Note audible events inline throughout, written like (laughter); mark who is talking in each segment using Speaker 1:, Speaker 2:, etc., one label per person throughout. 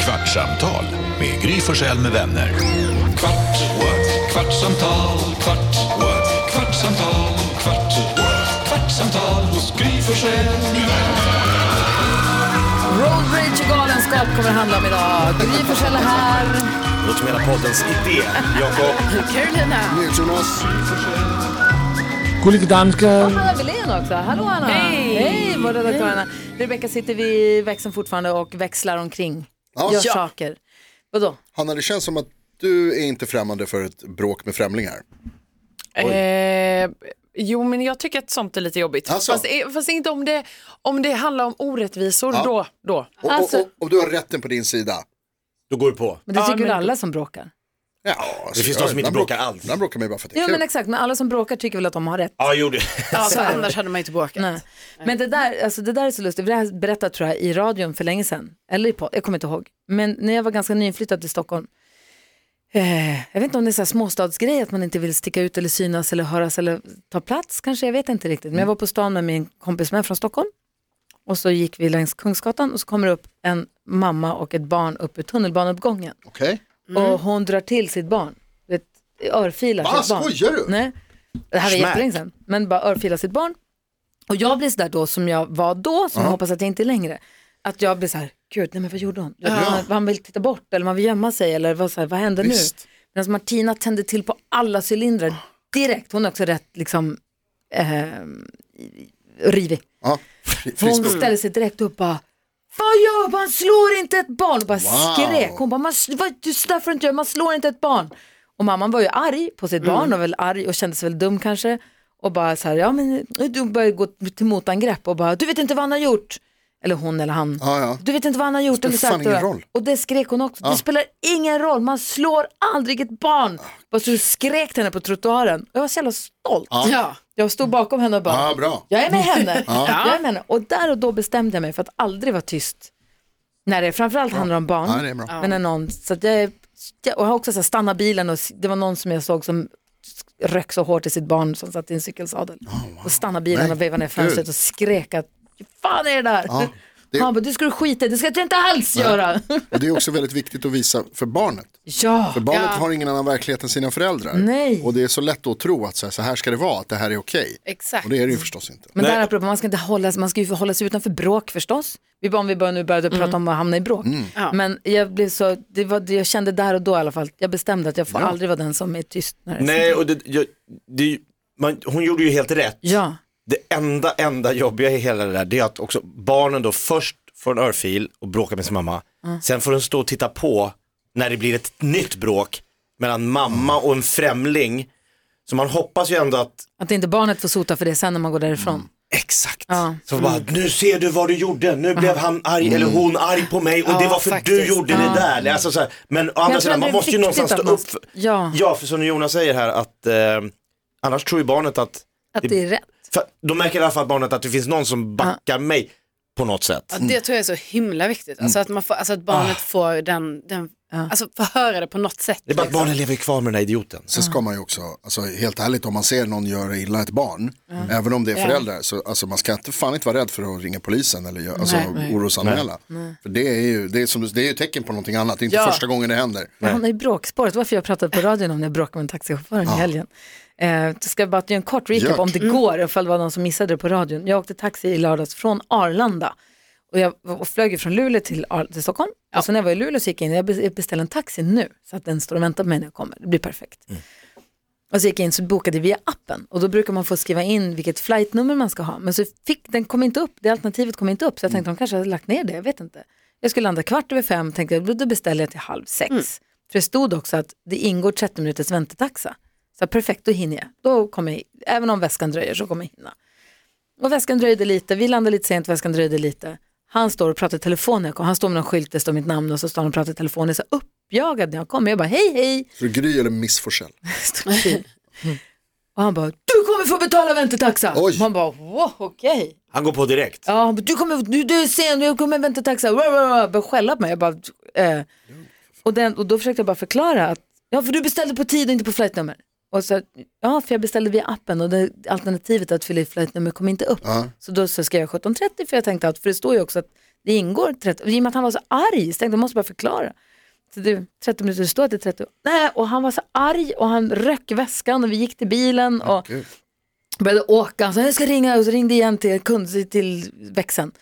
Speaker 1: Kvartsamtal med Gry Forssell med vänner. Kvart, what? kvartsamtal, kvart, what? kvartsamtal, kvart, what? kvartsamtal hos Gry Forssell med vänner.
Speaker 2: Road rage och galenskap kommer det handla om idag. Gry Forssell är här.
Speaker 3: Låt som hela poddens idé. Jakob.
Speaker 2: (laughs) Carolina.
Speaker 4: Gullige dansken.
Speaker 2: Anna Wilén också. Hallå Anna. Hej. Hej vår redaktör Anna. Rebecka sitter vid växeln fortfarande och växlar omkring.
Speaker 5: Ja.
Speaker 2: Gör
Speaker 5: Ja.
Speaker 2: saker. Vadå?
Speaker 5: Hanna, det känns som att du är inte främmande för ett bråk med främlingar.
Speaker 6: Eh, jo, men jag tycker att sånt är lite jobbigt.
Speaker 5: Alltså?
Speaker 6: Fast, eh, fast inte om det, om det handlar om orättvisor,
Speaker 5: Ja.
Speaker 6: då. då.
Speaker 5: Och,
Speaker 2: Alltså-
Speaker 5: och, och, om du har rätten på din sida.
Speaker 3: Då går du på.
Speaker 2: Men det
Speaker 6: Ja,
Speaker 2: tycker
Speaker 6: men-
Speaker 2: väl alla som bråkar?
Speaker 5: Ja, alltså,
Speaker 3: Det finns
Speaker 5: jag-
Speaker 3: de som inte
Speaker 5: ibland
Speaker 3: bråkar alls.
Speaker 5: Ibland bråkar man ju bara för att det
Speaker 2: Ja
Speaker 5: är
Speaker 2: men
Speaker 5: kul.
Speaker 2: exakt, men alla som bråkar tycker väl att de har rätt.
Speaker 3: Ja, gjorde
Speaker 6: Ja,
Speaker 2: Så är det.
Speaker 6: annars hade man ju inte bråkat.
Speaker 2: Nej. Men det där, alltså det där är så lustigt, för det här berättade tror jag i radion för länge sedan, eller i podd, jag kommer inte ihåg. Men när jag var ganska nyinflyttad till Stockholm, eh, jag vet inte om det är så här småstadsgrej att man inte vill sticka ut eller synas eller höras eller ta plats kanske, jag vet inte riktigt. Men jag var på stan med min kompis med från Stockholm och så gick vi längs Kungsgatan och så kommer det upp en mamma och ett barn upp ur tunnelbaneuppgången
Speaker 5: Okej.
Speaker 2: och hon drar till sitt barn. Du Vet, örfilar
Speaker 5: Mm. Va,
Speaker 2: sitt barn.
Speaker 5: skojar du?
Speaker 2: Nej. Det här var
Speaker 3: Smack.
Speaker 2: jättelänge sedan. Men bara örfilar sitt barn. Och jag blir sådär då som jag var då, som jag hoppas att jag inte är längre. Att jag blir så här, gud, nej men vad gjorde hon? Man, man vill titta bort eller man vill gömma sig eller vad, så här, vad hände nu?
Speaker 5: Visst.
Speaker 2: Medan Martina tände till på alla cylindrar direkt. Hon är också rätt liksom eh, rivig.
Speaker 5: Ja, fri-
Speaker 2: För hon
Speaker 5: frispråk.
Speaker 2: ställde sig direkt upp och bara, vad gör man? Man slår inte ett barn! Och bara
Speaker 5: Wow.
Speaker 2: skrek. Hon bara, man, vad, du, så där får du inte göra, man slår inte ett barn. Och mamman var ju arg på sitt
Speaker 5: Mm.
Speaker 2: barn och väl arg och kände sig väl dum kanske. Och bara så här, ja men du började gå till motangrepp och bara, du vet inte vad han har gjort. Eller hon eller han.
Speaker 5: Ja, ja.
Speaker 2: Du vet inte vad han har gjort.
Speaker 5: spelar
Speaker 2: Eller
Speaker 5: fan
Speaker 2: sagt,
Speaker 5: ingen
Speaker 2: och-
Speaker 5: roll.
Speaker 2: Och det skrek hon också. Det spelar ingen roll, man slår aldrig ett barn.
Speaker 5: Ah.
Speaker 2: Bara så skrek till henne på trottoaren. Och Jag var så jävla stolt.
Speaker 6: Ja.
Speaker 2: Jag stod bakom henne och bara,
Speaker 5: Ja, bra.
Speaker 2: jag är med
Speaker 5: (laughs)
Speaker 2: henne. Jag är med henne. Och där och då bestämde jag mig för att aldrig vara tyst. När det framförallt handlar om barn.
Speaker 5: Ja, det är bra.
Speaker 2: Men när någon, så att jag, är- jag- och jag har också så här, stanna bilen och s- det var någon som jag såg som röck så hårt i sitt barn som satt i en cykelsadel. Och stanna bilen
Speaker 5: Oh, Nej,
Speaker 2: och vevade ner fönstret
Speaker 5: gud.
Speaker 2: och skrek att "Vad fan är det där?
Speaker 5: Ja, det-
Speaker 2: Han bara, du ska du skita i. det ska jag inte alls göra.
Speaker 5: Och det är också väldigt viktigt att visa för barnet.
Speaker 2: (laughs) ja,
Speaker 5: För barnet har ingen annan verklighet än sina föräldrar.
Speaker 2: Nej.
Speaker 5: Och det är så lätt att tro att så här, så här ska det vara, att det här är okej.
Speaker 6: Exakt.
Speaker 5: Och det är det ju förstås inte.
Speaker 2: men
Speaker 3: Nej.
Speaker 2: där apropå, man ska inte hålla sig, man ska ju hålla sig utanför bråk förstås. Vi bara om vi börjar nu började prata om att hamna i bråk. Men jag blev så, det var, det jag kände där och då i alla fall, jag bestämde att jag får aldrig vara den som är tyst när det är
Speaker 3: Nej, och det, jag, det, är ju- man, hon gjorde ju helt rätt.
Speaker 2: Ja,
Speaker 3: Det enda, enda jobbiga i hela det där, det är att också barnen då först får en örfil och bråkar med sin mamma. Sen får de stå och titta på när det blir ett nytt bråk mellan mamma och en främling. Så man hoppas ju ändå att
Speaker 2: att inte barnet får sota för det sen när man går därifrån.
Speaker 3: Exakt.
Speaker 2: Ja. Mm.
Speaker 3: Så bara, nu ser du vad du gjorde, nu blev han arg eller hon arg på mig och det var för du gjorde det där. Eller Alltså, så här. Men å andra
Speaker 2: tror
Speaker 3: sidan,
Speaker 2: ändå
Speaker 3: man
Speaker 2: det är
Speaker 3: måste ju
Speaker 2: viktigt
Speaker 3: någonstans
Speaker 2: att
Speaker 3: stå
Speaker 2: man-
Speaker 3: upp. För,
Speaker 2: Ja.
Speaker 3: ja, för som Jonas säger här att eh, annars tror ju barnet att,
Speaker 2: Att det är rätt.
Speaker 3: för, då märker i alla fall barnet att det finns någon som backar mig på något sätt.
Speaker 7: Ja, det tror jag är så himla viktigt. Alltså att, man får, alltså att
Speaker 6: Ah.
Speaker 7: barnet får den, den alltså får höra det på något sätt.
Speaker 3: Det är bara att
Speaker 7: liksom.
Speaker 3: barnen lever kvar med den här idioten.
Speaker 5: Sen ska man ju också, alltså, helt ärligt om man ser någon göra illa ett barn, även om det är föräldrar, så alltså, man ska inte, fan inte vara rädd för att ringa polisen eller gö- alltså, orosanmäla. För det är, ju, det, är som, det är ju tecken på någonting annat, det är inte första gången det händer.
Speaker 2: Jag hamnade i bråkspåret, varför jag pratade på radion om när jag bråkade med en taxichaufför i helgen. Eh, jag ska bara göra en kort recap
Speaker 5: Gör.
Speaker 2: om det går, ifall det var någon som missade det på radion. Jag åkte taxi i lördags från Arlanda och jag var- och flög ju från Luleå till, Ar- till Stockholm. Och sen när jag var i Luleå så gick jag in, jag bes- jag beställde en taxi nu så att den står och väntar på mig när jag kommer, det blir perfekt. Och så gick jag in så bokade via appen och då brukar man få skriva in vilket flightnummer man ska ha. Men så fick, den kom inte upp, det alternativet kom inte upp så jag tänkte de kanske hade lagt ner det, jag vet inte. Jag skulle landa kvart över fem, tänkte jag, då beställer jag till halv sex. För det stod också att det ingår 30 minuters väntetaxa. Så perfekt, då hinner jag. Då kommer jag, även om väskan dröjer så kommer jag hinna. Och väskan dröjde lite, vi landade lite sent, väskan dröjde lite. Han står och pratar i telefon när jag kommer. Han står med någon skylt, det står mitt namn och så står han och pratar i telefon. Jag är så uppjagad när jag kommer. Jag bara hej hej.
Speaker 5: Så Gry eller Miss Forsell?
Speaker 2: Stod still. (laughs) och han bara, du kommer få betala väntetaxa.
Speaker 5: Oj.
Speaker 2: Man bara, wow, okej.
Speaker 3: Han går på direkt.
Speaker 2: Ja, han bara, du kommer, du, du är sen, du kommer väntetaxa. Började skälla på mig. Jag bara, eh. och, den, och då försökte jag bara förklara att, ja för du beställde på tid och inte på flightnummer. Och så, ja, för jag beställde via appen och det, alternativet att fylla i flight kom inte upp.
Speaker 5: Ah.
Speaker 2: Så då så skrev jag 17.30 för jag tänkte att, för det står ju också att det ingår 30, och i och med att han var så arg så tänkte jag, jag måste bara förklara. Så du, 30 minuter, det står att det är 30. Nej, och han var så arg och han röck väskan och vi gick till bilen och började åka. Han sa, jag ska ringa och så ringde igen till kund, till växeln.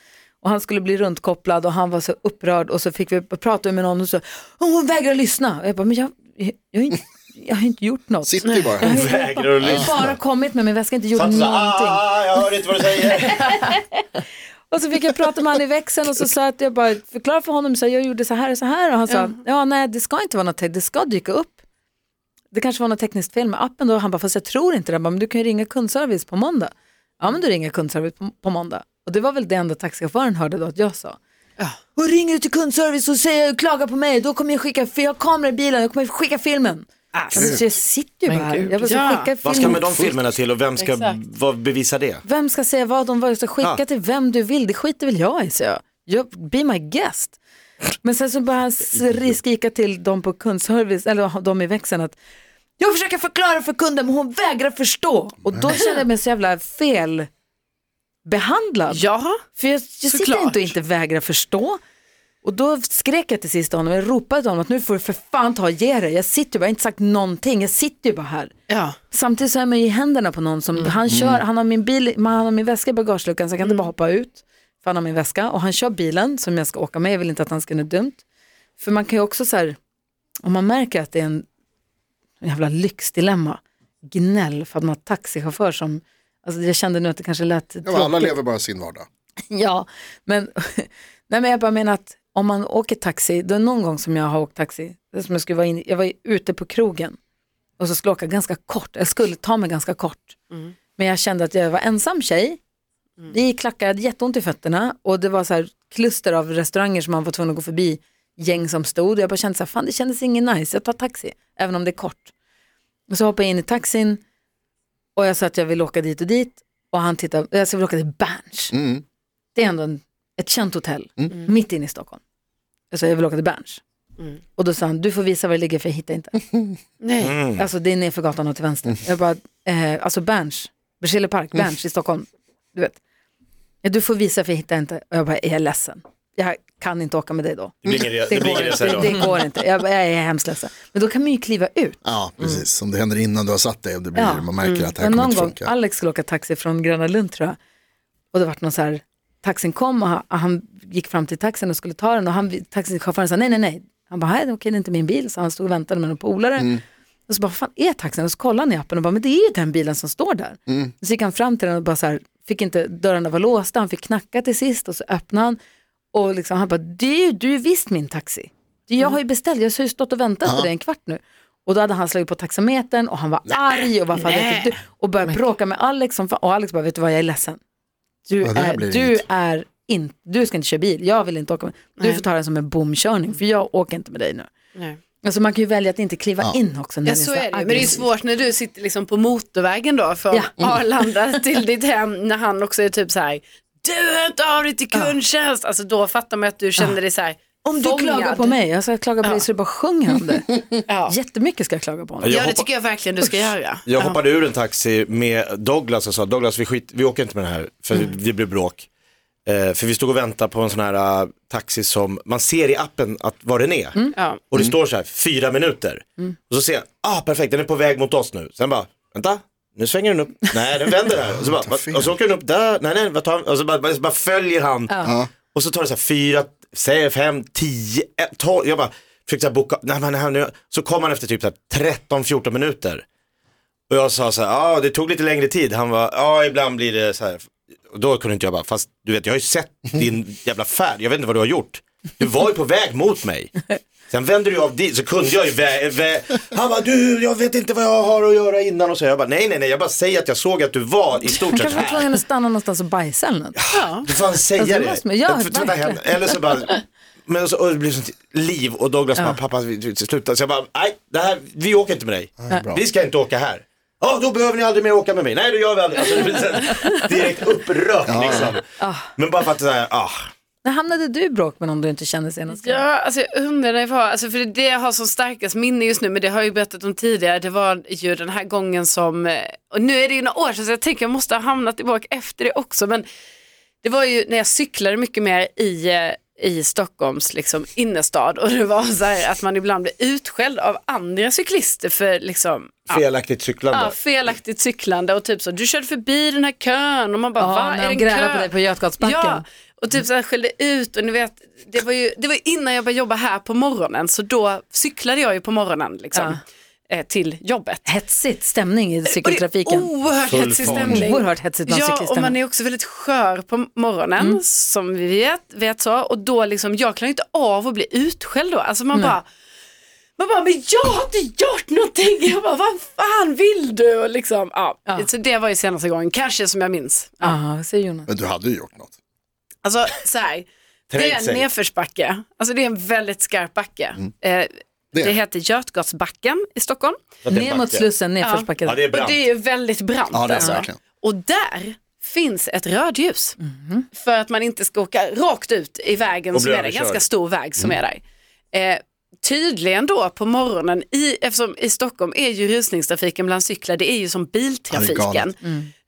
Speaker 2: Och han skulle bli runtkopplad och han var så upprörd och så fick vi prata med någon och så, "Åh, hon vägrar lyssna. Och jag bara, men jag, jag, jag, har inte- jag har inte gjort något.
Speaker 5: Sitter ju bara.
Speaker 2: Jag har ju
Speaker 3: (laughs) Vägrar
Speaker 2: bara-
Speaker 3: att lyssna.
Speaker 2: Jag har bara kommit med min väska, inte gjort
Speaker 3: Satt så,
Speaker 2: någonting.
Speaker 3: ah, jag hör inte vad du
Speaker 2: Mm.
Speaker 3: säger.
Speaker 2: Och så fick jag prata med han i växeln och så sa jag att jag bara förklarade för honom, så här, jag gjorde så här och så här och han sa, ja nej det ska inte vara något, te- det ska dyka upp. Det kanske var något tekniskt fel med appen då, han bara, fast jag tror inte det, Jag bara, men du kan ju ringa kundservice på måndag. Ja men du ringer kundservice på, på måndag. Och det var väl det enda taxichauffören hörde då att jag sa. Och ringer du till kundservice och säger, klagar på mig, då kommer jag skicka, för jag har kamera i bilen, jag kommer skicka filmen. Alltså, så jag sitter ju bara här, jag bara, så
Speaker 7: Ja.
Speaker 2: skicka
Speaker 3: Vad ska
Speaker 2: filmen.
Speaker 3: med de filmerna till och vem ska
Speaker 7: Exakt.
Speaker 3: vad bevisa det?
Speaker 2: Vem ska säga vad om vad? Du ska skicka
Speaker 3: Ja.
Speaker 2: till vem du vill. Det skiter väl jag i, säger jag. jag. Be my guest. Men sen så började han s- skrika till dem på kundservice, eller de i växeln att jag försöker förklara för kunden men hon vägrar förstå. Och då kände jag mig så jävla fel behandlad.
Speaker 7: Ja,
Speaker 2: För jag, jag sitter
Speaker 7: Såklart.
Speaker 2: inte och inte vägrar förstå. Och då skrek jag till sist till honom, jag ropade till honom att nu får du för fan ta och ge dig. Jag sitter ju bara, jag har inte sagt någonting, jag sitter ju bara här.
Speaker 7: ja.
Speaker 2: Samtidigt så är man ju i händerna på någon som, han kör, han har min bil, man, han har min väska i bagageluckan så jag kan inte bara hoppa ut, för han har min väska och han kör bilen som jag ska åka med, jag vill inte att han ska göra något dumt. För man kan ju också så här, om man märker att det är en, en jävla lyxdilemma, gnäll för att man har taxichaufför som, alltså jag kände nu att det kanske lät
Speaker 5: Ja, men alla
Speaker 2: tråkigt.
Speaker 5: lever bara sin vardag.
Speaker 2: (laughs) Ja, men, nej, men jag bara menar att om man åker taxi, då är någon gång som jag har åkt taxi, det är som jag, skulle vara in, jag var ju ute på krogen och så skulle jag åka ganska kort, jag skulle ta mig ganska kort. Men jag kände att jag var ensam tjej, det gick klackar, jag hade jätteont i fötterna och det var så här kluster av restauranger som man var tvungen att gå förbi, gäng som stod och jag bara kände så här, fan det kändes ingen nice, jag tar taxi, även om det är kort. Och så hoppade jag in i taxin och jag sa att jag vill åka dit och dit och han tittade, jag sa, jag vill åka till Berns
Speaker 5: Mm.
Speaker 2: det är ändå en, ett känt hotell mitt inne i Stockholm. Alltså, Jag sa, jag vill åka till Berns. Och då sa han, du får visa var det ligger för jag hittar inte.
Speaker 7: Nej.
Speaker 3: Mm.
Speaker 5: Mm.
Speaker 2: Alltså det är nerför gatan och till vänster. Jag bara, eh, alltså Berns, Berzelii park,
Speaker 5: Mm.
Speaker 2: Berns i Stockholm. Du vet. "Ja, Du får visa för jag hittar inte. Och jag bara, är jag ledsen? Jag kan inte åka med dig
Speaker 5: Mm.
Speaker 2: då.
Speaker 3: Det blir ingen re- det blir ingen resa
Speaker 2: inte.
Speaker 3: idag.
Speaker 2: Det går inte. Jag, bara, jag är hemskt ledsen. Men då kan man ju kliva ut.
Speaker 5: Ja, precis. Om det händer innan du har satt dig och det blir,
Speaker 2: Ja. Mm.
Speaker 5: man märker att det här
Speaker 2: Men
Speaker 5: kommer
Speaker 2: någon
Speaker 5: inte
Speaker 2: gång,
Speaker 5: funka.
Speaker 2: Alex skulle åka taxi från Gröna Lund tror jag. Och det vart någon så här, taxin kom och han, han gick fram till taxin och skulle ta den och han, taxichauffören sa nej, nej, nej. Han bara, nej, okej, det är inte min bil. Så han stod och väntade med en polare. Och så bara, vad fan är taxin? Och så kollade han i appen och bara, men det är ju den bilen som står där. Så gick han fram till den och bara så här, fick inte, dörrarna var låsta, han fick knacka till sist och så öppnade han. Och liksom, han bara, det är ju, du är ju visst min taxi. Det- Jag har ju beställt, jag har ju stått och väntat på dig en kvart nu. Och då hade han slagit på taxametern och han var arg och varför hade jag inte du? Och började bråka med Alex. Som, fa- och Alex bara, vet du vad, jag är ledsen. Du,
Speaker 5: Ja, det här
Speaker 2: är,
Speaker 5: blir
Speaker 2: du,
Speaker 5: inget.
Speaker 2: är in, du ska inte köra bil, jag vill inte åka med. Du får ta den som en bomkörning, för jag åker inte med dig nu.
Speaker 7: Nej.
Speaker 2: Alltså man kan ju välja att inte kliva in också. När
Speaker 7: Ja,
Speaker 2: det
Speaker 7: så
Speaker 2: här
Speaker 7: är det ju. Men det är ju
Speaker 2: aggressivt.
Speaker 7: svårt när du sitter liksom på motorvägen då från
Speaker 2: Ja. Mm.
Speaker 6: (laughs)
Speaker 7: Arlanda till ditt hem när han också är typ så här, du hör inte av dig till kundtjänst. Alltså då fattar man att du kände dig så här,
Speaker 2: Om du klagar på mig, alltså, jag ska klaga på dig så du bara sjunger om det.
Speaker 7: (laughs) Ja.
Speaker 2: Jättemycket ska jag klaga på honom.
Speaker 7: Ja, det
Speaker 3: hoppa-
Speaker 7: tycker jag verkligen du ska göra.
Speaker 3: Jag hoppade ur en taxi med Douglas och sa Douglas vi, skit, vi åker inte med den här för det blir bråk. Eh, för vi stod och väntade på en sån här eh, taxi som man ser i appen att vad den är.
Speaker 7: Ja.
Speaker 3: Och det står så här fyra minuter. Och så ser jag, ah perfekt den är på väg mot oss nu. Sen bara, vänta, nu svänger den upp, nej den vänder här. Och så, bara, "Va?" och så åker den upp där, nej nej, vad tar han? Och så bara, bara, bara följer han. Och så tar det så här fyra, säg fem, tio, ett, tolv. Jag bara, försökte så här boka, nej men nej, nej. Så kom han efter typ 13-14 minuter. Och jag sa så här, ja det tog lite längre tid. Han var, ja ibland blir det så här. Och då kunde inte jag bara, fast du vet jag har ju sett
Speaker 2: (laughs)
Speaker 3: din jävla färd, jag vet inte vad du har gjort. Du var ju på väg
Speaker 2: (laughs)
Speaker 3: mot mig. Sen vände du av dit så kunde jag ju vä- vä- Han bara, du jag vet inte vad jag har att göra innan och så. Jag bara, nej nej nej, jag bara säger att jag såg att du var i stort sett
Speaker 2: Kanske var
Speaker 3: här.
Speaker 2: tvungen att stanna någonstans och bajsa eller något.
Speaker 3: Du får fan säga
Speaker 2: Alltså, det
Speaker 3: det.
Speaker 2: måste man- ja,
Speaker 3: Jag får tvätta
Speaker 2: verkligen.
Speaker 3: händerna. Eller så bara, men så, och det blev sånt liv och Douglas bara, pappa vi- vi- sluta. Så jag bara, nej, det här, vi åker inte med dig. Vi ska inte åka här. Ja, då behöver ni aldrig mer åka med mig. Nej, det gör vi aldrig. Alltså, det blir så här direkt upprört liksom. Men bara för att så här, ah,
Speaker 2: När hamnade du i bråk med någon du inte kände senast?
Speaker 7: Ja, alltså jag undrar när jag var, alltså för det jag har som starkast minne just nu, men det har jag ju berättat om tidigare, det var ju den här gången som, eh, och nu är det ju några år sedan så jag tänker jag måste ha hamnat tillbaka efter det också, men det var ju när jag cyklade mycket mer i, eh, i Stockholms liksom, innerstad och det var så här att man ibland blev utskälld av andra cyklister för liksom, ja,
Speaker 3: Felaktigt cyklande.
Speaker 7: ja, felaktigt cyklande och typ så, du körde förbi den här kön och man bara, va,
Speaker 2: Ja, när
Speaker 7: är det
Speaker 2: de
Speaker 7: en
Speaker 2: grälade
Speaker 7: kö?
Speaker 2: på dig på Götgatsbacken.
Speaker 7: Ja, och typ så här skällde ut och ni vet, det var ju det var innan jag började jobba här på morgonen så då cyklade jag ju på morgonen liksom, eh, till jobbet.
Speaker 2: Hetsigt stämning i
Speaker 7: Och det är
Speaker 2: cykeltrafiken.
Speaker 7: oerhört
Speaker 3: Full
Speaker 7: hetsig
Speaker 3: fart.
Speaker 7: stämning.
Speaker 2: Oerhört hetsigt bland
Speaker 7: Ja, och
Speaker 2: cyklisterna.
Speaker 7: man är också väldigt skör på morgonen som vi vet, vet så och då liksom, jag klarar inte av att bli utskälld då. Alltså man bara man bara, men jag har inte gjort någonting. Jag bara, vad fan vill du? Och liksom, ja. Så det var ju senaste gången, kanske som jag minns.
Speaker 2: Ja, vad säger Jonas.
Speaker 5: Men du hade ju gjort något.
Speaker 7: Alltså så här, det
Speaker 3: Trängt
Speaker 7: är en
Speaker 3: sig.
Speaker 7: nedförsbacke. Alltså det är en väldigt skarp backe. Eh,
Speaker 5: Det
Speaker 7: det.
Speaker 5: är-
Speaker 7: heter Götgatsbacken i Stockholm.
Speaker 3: Så att det är
Speaker 2: Ner
Speaker 3: en
Speaker 2: mot
Speaker 3: backe.
Speaker 2: Slussen, nedförsbacken.
Speaker 3: Ja, det är
Speaker 7: Och
Speaker 3: brant.
Speaker 7: det är ju väldigt brant.
Speaker 5: Ja, det är det
Speaker 7: alltså.
Speaker 5: verkligen.
Speaker 7: Och där finns ett rödljus. För att man inte ska åka rakt ut i vägen
Speaker 3: Och
Speaker 7: som
Speaker 3: bli
Speaker 7: är där. En
Speaker 3: överkörd.
Speaker 7: ganska stor väg som
Speaker 5: Mm.
Speaker 7: är där. Eh, tydligen då på morgonen, i, eftersom i Stockholm är ju rusningstrafiken bland cyklar, det är ju som
Speaker 5: Ja, det är
Speaker 7: biltrafiken.
Speaker 5: galet.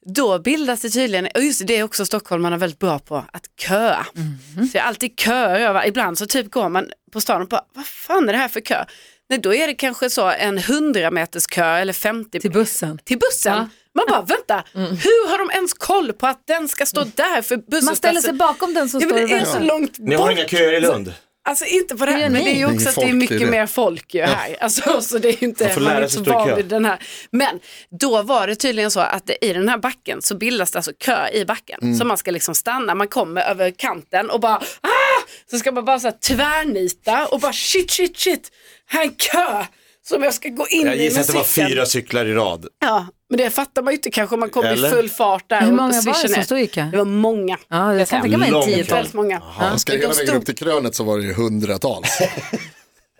Speaker 7: Då bildas det tydligen, och just det, det är också stockholmarna väldigt bra på, att köa.
Speaker 2: Mhm.
Speaker 7: Så det är alltid köer överallt. ibland så typ går man på stan och bara, vad fan är det här för kö? Nej, då är det kanske så en 100 meters kö eller 50
Speaker 2: Till bussen. Mm.
Speaker 7: till bussen. Man
Speaker 2: (laughs)
Speaker 7: bara, vänta, hur har de ens koll på att den ska stå där för bussen?
Speaker 2: Man ställer sig bakom den som
Speaker 7: ja,
Speaker 2: står
Speaker 7: men
Speaker 2: i
Speaker 7: det är
Speaker 2: vägen.
Speaker 7: så långt bort.
Speaker 3: Ni har inga köer i Lund.
Speaker 7: Alltså inte på det här, men det är ju
Speaker 5: ni?
Speaker 7: också att det är
Speaker 5: Ingen folk i
Speaker 7: mycket
Speaker 5: det.
Speaker 7: mer folk ju här. Alltså, (laughs) så det är ju inte,
Speaker 3: Man får lära
Speaker 7: man är inte
Speaker 3: sig
Speaker 7: så
Speaker 3: stå i kö.
Speaker 7: van vid den här. Men då var det tydligen så att det, i den här backen så bildas det alltså kö i backen.
Speaker 3: Mm.
Speaker 7: Så man ska liksom stanna, man kommer över kanten och bara ah! Så ska man bara så här tvärnita och bara shit, shit, shit, här är en kö som jag ska gå in
Speaker 3: Jag
Speaker 7: i
Speaker 3: gissar
Speaker 7: med
Speaker 3: att det var
Speaker 7: cykeln.
Speaker 3: fyra cyklar i rad.
Speaker 7: Ja, men det fattar man ju inte kanske om man kommer
Speaker 3: Eller?
Speaker 7: i full fart där.
Speaker 2: Hur
Speaker 7: och
Speaker 2: många var det
Speaker 7: swishen
Speaker 2: som
Speaker 7: är.
Speaker 2: stod i kö?
Speaker 7: Det var många.
Speaker 2: Ja, jag kan tänka mig en
Speaker 3: Lång
Speaker 2: tiotal.
Speaker 7: Väldigt många.
Speaker 5: Man ska hela vägen upp till krönet så var det ju hundratals.
Speaker 7: Eh,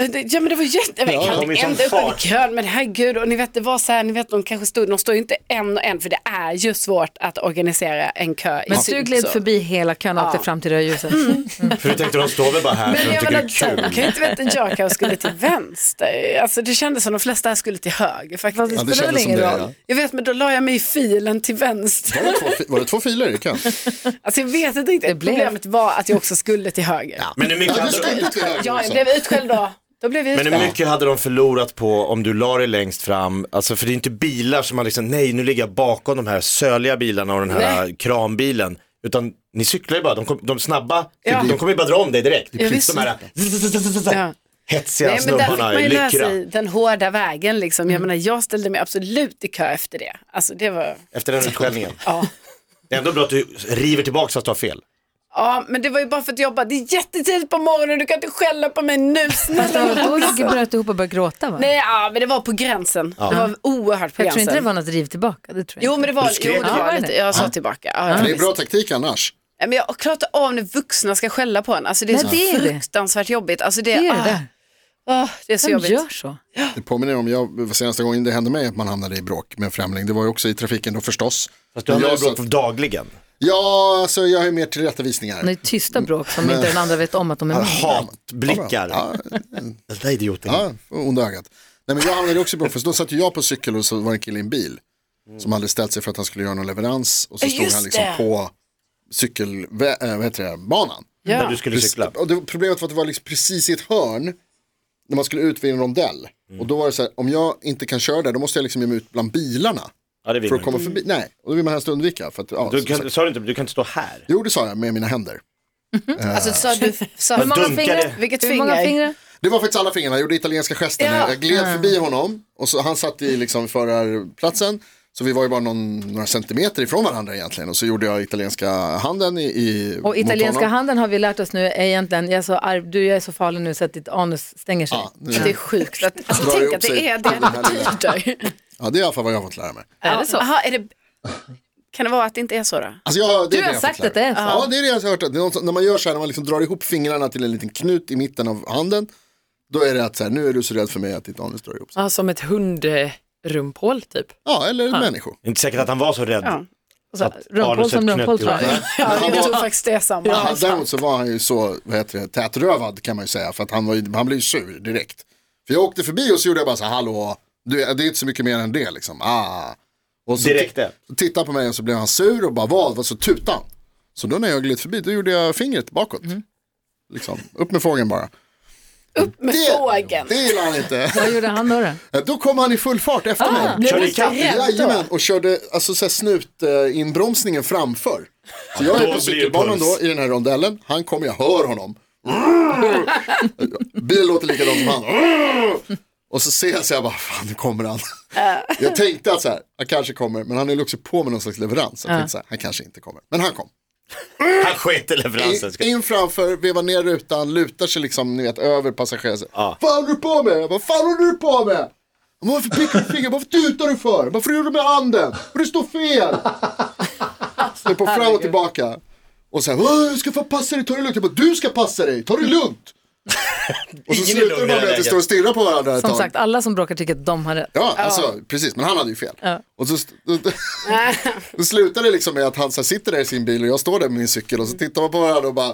Speaker 7: Det- Ja men det var jätte,
Speaker 3: Ja,
Speaker 7: jag
Speaker 3: de
Speaker 7: kan
Speaker 3: är
Speaker 7: inte
Speaker 3: som
Speaker 7: ända upp i
Speaker 3: fart.
Speaker 7: kön men herregud och ni vet det var så här, ni vet de kanske stod, de står ju inte en och en för det är ju svårt att organisera en kö. i
Speaker 2: Men
Speaker 7: sig
Speaker 2: du gled
Speaker 7: också.
Speaker 2: förbi hela kön och åkte fram till rödljuset.
Speaker 7: Mm.
Speaker 3: För du tänkte de står väl bara här för
Speaker 7: Men
Speaker 3: de
Speaker 7: jag
Speaker 3: tycker
Speaker 7: menar,
Speaker 3: det är kul.
Speaker 7: de kan ju inte veta att jag kanske skulle till vänster. Alltså det kändes som de flesta här skulle till höger
Speaker 2: Fast
Speaker 7: faktiskt.
Speaker 5: Ja,
Speaker 2: det
Speaker 5: det
Speaker 2: spelar väl
Speaker 5: kändes som
Speaker 2: ingen
Speaker 5: det.
Speaker 2: roll.
Speaker 5: Ja.
Speaker 7: Jag vet men då la jag mig i filen till vänster.
Speaker 5: Var det två, fi- var det två filer i kön?
Speaker 7: Alltså jag vet inte riktigt.
Speaker 2: blev-
Speaker 7: Problemet var att jag också skulle till höger.
Speaker 3: Men hur
Speaker 5: Ja,
Speaker 3: mycket
Speaker 5: du
Speaker 3: hade
Speaker 5: stod
Speaker 3: de...
Speaker 5: ju till höger
Speaker 7: Ja, jag
Speaker 5: också.
Speaker 7: blev utskälld då. Då blev jag
Speaker 3: Men
Speaker 7: utskälld.
Speaker 3: hur mycket hade de förlorat på om du la dig längst fram? Alltså för det är inte bilar som man liksom, nej nu ligger jag bakom de här söliga bilarna och den här kranbilen. Utan ni cyklar ju bara, de, kom, de snabba,
Speaker 7: Ja.
Speaker 3: de kommer ju bara dra om dig direkt.
Speaker 7: Ja, visst.
Speaker 3: de här äh,
Speaker 7: Ja.
Speaker 3: hetsiga
Speaker 7: Nej, men där fick
Speaker 3: snubbarna
Speaker 7: man
Speaker 3: i
Speaker 7: ju lära
Speaker 3: Lyckra.
Speaker 7: sig den hårda vägen liksom. Jag menar, jag ställde mig absolut i kö efter det. Alltså det var,
Speaker 3: Efter den utskällningen.
Speaker 7: ja.
Speaker 3: Det är ändå bra att du river tillbaka fast du har fel.
Speaker 7: Ja, men det var ju bara för att jag bara, det är jättetidigt på morgonen, du kan inte skälla på mig nu
Speaker 2: Fast
Speaker 7: snälla.
Speaker 2: då gick ju bröt ihop och började gråta va?
Speaker 7: Nej, ja, men det var på gränsen. Det var oerhört på
Speaker 2: jag tror
Speaker 7: gränsen.
Speaker 2: inte det var något riv tillbaka. Det tror jag
Speaker 7: Jo,
Speaker 2: inte.
Speaker 7: men det var,
Speaker 3: Du
Speaker 7: jo,
Speaker 3: skrek
Speaker 7: det
Speaker 2: det. Ja,
Speaker 7: var lite, jag sa tillbaka. Ja, ja,
Speaker 5: Det är
Speaker 7: visst.
Speaker 5: bra taktik annars.
Speaker 7: Nej, Men jag klarar inte av när vuxna ska skälla på en. Alltså det
Speaker 2: Nej,
Speaker 7: är så
Speaker 2: det är det.
Speaker 7: fruktansvärt jobbigt. Alltså det,
Speaker 2: det är det
Speaker 7: ah,
Speaker 2: där.
Speaker 7: ah, det är så
Speaker 2: Vem
Speaker 7: jobbigt.
Speaker 2: gör så?
Speaker 5: Det påminner om, jag, senaste gången det hände mig att man hamnade i bråk med en främling, det var ju också i trafiken då förstås.
Speaker 3: Fast du
Speaker 5: Men
Speaker 3: har
Speaker 5: jag
Speaker 3: ju bråk
Speaker 5: satt-
Speaker 3: dagligen.
Speaker 5: Ja, alltså jag är mer tillrättavisningar.
Speaker 2: Det är tysta bråk som inte den andra vet om att de är med.
Speaker 3: Hatblickar.
Speaker 5: Ja,
Speaker 3: Den där idioten.
Speaker 5: ja, onda ögat. Nej men jag hamnade också i bråk, för då satt ju jag på cykel och så var det en kille i en bil. Som hade ställt sig för att han skulle göra någon leverans och så
Speaker 7: Ja,
Speaker 5: stod
Speaker 7: just
Speaker 5: han liksom
Speaker 7: det.
Speaker 5: på eh, cykelbanan.
Speaker 3: När du skulle cykla.
Speaker 5: Och det, problemet var att det var liksom precis i ett hörn när man skulle ut vid en rondell. Och då var det så här, om jag inte kan köra där då måste jag liksom ge mig ut bland bilarna.
Speaker 3: Ja, det vill
Speaker 5: För
Speaker 3: man
Speaker 5: att komma förbi, nej, och det vill man helst undvika. För att, ja,
Speaker 3: Du
Speaker 5: som sagt.
Speaker 3: kan, sa du inte, du kan inte stå här.
Speaker 5: Jo, det sa jag med mina händer.
Speaker 7: Alltså, sa du, sa,
Speaker 3: Men
Speaker 2: många
Speaker 3: dunkade.
Speaker 2: fingrar?
Speaker 7: Vilket
Speaker 2: Hur många
Speaker 7: finger?
Speaker 2: fingrar?
Speaker 5: Det var faktiskt alla fingrarna, jag gjorde italienska gester. när
Speaker 7: Ja.
Speaker 5: Jag gled förbi honom och så, han satt i liksom förarplatsen. Så vi var ju bara någon, några centimeter ifrån varandra egentligen. Och så gjorde jag italienska handen i... i
Speaker 2: Och italienska
Speaker 5: handen?
Speaker 2: handen har vi lärt oss nu är egentligen, jag är så arg, du jag är så farlig nu så att ditt anus stänger sig.
Speaker 5: Ja, nu-
Speaker 7: det är sjukt. Att, alltså,
Speaker 5: Drar
Speaker 7: tänk
Speaker 5: ihop
Speaker 7: att det
Speaker 5: sig
Speaker 7: är
Speaker 5: till
Speaker 7: det
Speaker 5: den här
Speaker 7: det
Speaker 5: lilla-
Speaker 7: (laughs) betyder.
Speaker 5: Ja, det är i alla fall vad jag har fått lära mig.
Speaker 7: Är det så? Aha, är det, kan det vara att det inte är så då?
Speaker 5: Alltså jag,
Speaker 2: Du
Speaker 5: det är det
Speaker 2: har
Speaker 5: jag
Speaker 2: sagt
Speaker 5: fått lära
Speaker 2: att det är
Speaker 5: mig. Ja, det är det jag har hört. Det är något, som- när man gör så här, när man liksom drar ihop fingrarna till en liten knut i mitten av handen. Då är det att så här, nu är du så rädd för mig att ditt anus drar ihop sig.
Speaker 6: Ja, som ett hundrumphål typ.
Speaker 5: Ja, eller människor.
Speaker 3: Det är inte säkert att han var så rädd.
Speaker 2: Och så,
Speaker 3: Att
Speaker 2: rumphål Alltså, som
Speaker 3: anuset
Speaker 2: rumpål
Speaker 3: knöt
Speaker 2: tror jag.
Speaker 5: ihop.
Speaker 8: Ja,
Speaker 5: Han
Speaker 8: jag
Speaker 5: var-
Speaker 8: tror faktiskt det är samma.
Speaker 5: Han, däremot så var han ju så, vad heter det, tätrövad kan man ju säga. För att han, var ju, han blev ju sur direkt. För jag åkte förbi och så gjorde jag bara så här, hallå, du, det är inte så mycket mer än det liksom. Ah. Och så
Speaker 3: Direkt det.
Speaker 5: Så tittade han på mig och så blev han sur och bara vad, vad så tutade han. Så då när jag gled förbi, då gjorde jag fingret bakåt. Liksom, upp med fågeln bara.
Speaker 8: Med
Speaker 5: Det-
Speaker 8: fågeln.
Speaker 5: Det gillar han inte.
Speaker 2: Vad gjorde han då? då?
Speaker 5: Då kom han i full fart efter mig.
Speaker 8: Blev
Speaker 3: Körde
Speaker 8: du
Speaker 3: ikapp?
Speaker 8: rädd då?
Speaker 5: Jajamän, och körde alltså, så här, snutinbromsningen framför. Så jag
Speaker 3: Då
Speaker 5: är på
Speaker 3: blir
Speaker 5: cykelbanan
Speaker 3: puls.
Speaker 5: då i den här rondellen, han kommer, jag hör honom. (laughs) Bil låter likadant som han. Och så ser jag så jag bara, fan nu kommer han. Jag tänkte att så här, han kanske kommer, men han höll också på med någon slags leverans. Jag tänkte så här, han kanske inte kommer, men han kom.
Speaker 3: Han sket i leveransen.
Speaker 5: In, in framför, vevar ner rutan, lutar sig liksom ni vet, över passageraren.
Speaker 3: Ja.
Speaker 5: Vad håller du på med? Vad fan håller du på med? Men Varför pickar du fingret? Varför tutar du för? Varför gör du med handen? För det står fel. Så på fram och tillbaka. Och så här, "Åh, du ska få passa dig, ta det lugnt. Jag bara, du ska passa dig, ta det
Speaker 3: (laughs)
Speaker 5: lugnt. och så
Speaker 3: Ingen är
Speaker 5: slutar det
Speaker 3: lugn i
Speaker 5: bara med
Speaker 3: det
Speaker 5: att vi
Speaker 3: läget.
Speaker 5: står och stirrar på varandra ett
Speaker 2: Som
Speaker 5: tag.
Speaker 2: sagt, alla som bråkar tycker att de har rätt.
Speaker 5: Ja, alltså precis, men han hade ju fel. Och så, då,
Speaker 2: (laughs)
Speaker 5: då, då slutade det liksom med att han så här, sitter där i sin bil och jag står där med min cykel och så tittar man på varandra och bara,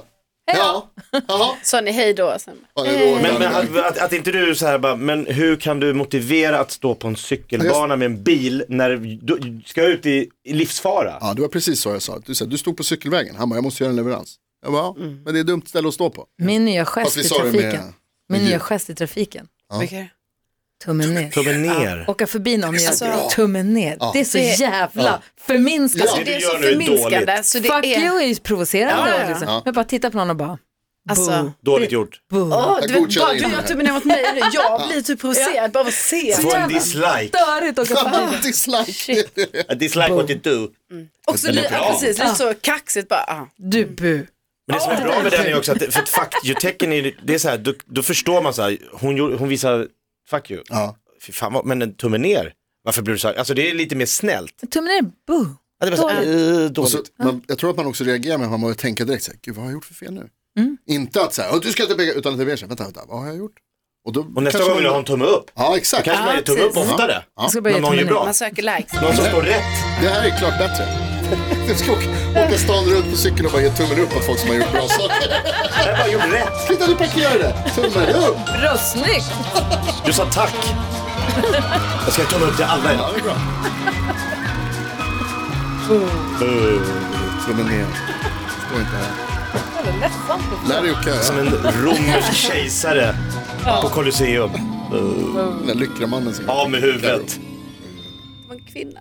Speaker 5: ja, ja,
Speaker 8: Sa ni hej då? Sen.
Speaker 5: ja det går.
Speaker 3: Men, men att, att, att inte du så här bara, men hur kan du motivera att stå på en cykelbana med en bil när du ska ut i, i livsfara?
Speaker 5: Ja, det var precis så jag sa. Du, sa, du stod på cykelvägen, han bara, jag måste göra en leverans. Jag bara, ja, men det är dumt ställe att stå på.
Speaker 2: Min nya gest
Speaker 5: Fast
Speaker 2: Mm. i
Speaker 5: vi sa det med- (laughs)
Speaker 2: trafiken.
Speaker 5: med
Speaker 2: Min nya
Speaker 5: ljud.
Speaker 2: gest i trafiken.
Speaker 7: Vilka är det?
Speaker 2: Tummen ner.
Speaker 3: Tummen ner.
Speaker 2: Åka förbi någon och göra tummen ner. Det är så
Speaker 8: Alltså, Det-
Speaker 2: jävla förminskat.
Speaker 5: Ja.
Speaker 8: Alltså, Det är
Speaker 3: du
Speaker 8: så
Speaker 3: gör nu är
Speaker 8: förminskande.
Speaker 3: dåligt.
Speaker 8: Så det
Speaker 2: Fuck
Speaker 8: är,
Speaker 2: you är ju
Speaker 8: Ja,
Speaker 2: provocerande.
Speaker 8: ja, ja.
Speaker 2: Liksom.
Speaker 5: Ja.
Speaker 2: Men bara titta på någon och bara,
Speaker 8: alltså,
Speaker 3: Dåligt gjort.
Speaker 2: boom.
Speaker 8: åh,
Speaker 5: Jag
Speaker 8: du vet,
Speaker 5: godkänner
Speaker 8: bara du
Speaker 5: inte det
Speaker 8: gör
Speaker 5: här.
Speaker 8: tummen ner mot mig nu. Jag blir typ provocerad bara av att se.
Speaker 3: Få en dislike.
Speaker 2: Störigt att åka förbi.
Speaker 8: (laughs)
Speaker 2: (laughs)
Speaker 5: Dislike.
Speaker 3: A dislike what you do.
Speaker 8: Också
Speaker 3: Det är
Speaker 8: li-
Speaker 3: bra.
Speaker 8: ja, precis, lite så kaxigt bara. Ah.
Speaker 2: Du bu.
Speaker 3: Men det som är bra med den är också att, det- för att fuck you-tecken är, det är så här, då, då förstår man så här, hon, gjorde- hon visar fuck you.
Speaker 5: Ja.
Speaker 3: Fy fan, vad, men en tumme ner. Varför blir du så här? Alltså det är lite mer snällt.
Speaker 2: Tummen ner, bu.
Speaker 3: Ja, det var så här, eh,
Speaker 5: Och så,
Speaker 3: dåligt.
Speaker 5: man, jag tror att man också reagerar med att man börjar tänka direkt, så här, gud vad har jag gjort för fel nu?
Speaker 2: Mm.
Speaker 5: Inte att så här, "Åh, du ska inte peka, utan att det blir så här, vänta, vänta, vad har jag gjort? Och, då
Speaker 3: Och
Speaker 5: kanske
Speaker 3: nästa gång
Speaker 5: man-
Speaker 3: vill jag ha en tumme upp.
Speaker 5: Ja, exakt.
Speaker 3: Kanske man ger tumme upp oftare.
Speaker 2: Jag ska börja
Speaker 3: När
Speaker 2: göra tummen
Speaker 3: någon gör
Speaker 2: ner.
Speaker 3: bra.
Speaker 8: Man söker likes.
Speaker 3: Någon som står rätt.
Speaker 5: Det här är klart bättre. (laughs) Du ska åka, åka stan runt på cykeln och bara ge tummen upp åt folk som har gjort bra saker.
Speaker 3: Jag bara gjorde rätt.
Speaker 5: Titta, du parkerade! Tummen upp!
Speaker 2: Bra, snyggt.
Speaker 3: Du sa tack. Jag ska tumma upp till alla idag.
Speaker 5: Ja, det är bra.
Speaker 3: Mm.
Speaker 5: Tummen ner. Stå inte här. Lär dig åka
Speaker 3: Som
Speaker 5: över
Speaker 3: en romersk kejsare på Colosseum.
Speaker 5: den där lyckramannen som...
Speaker 3: Av med huvudet.
Speaker 8: Man kvinna.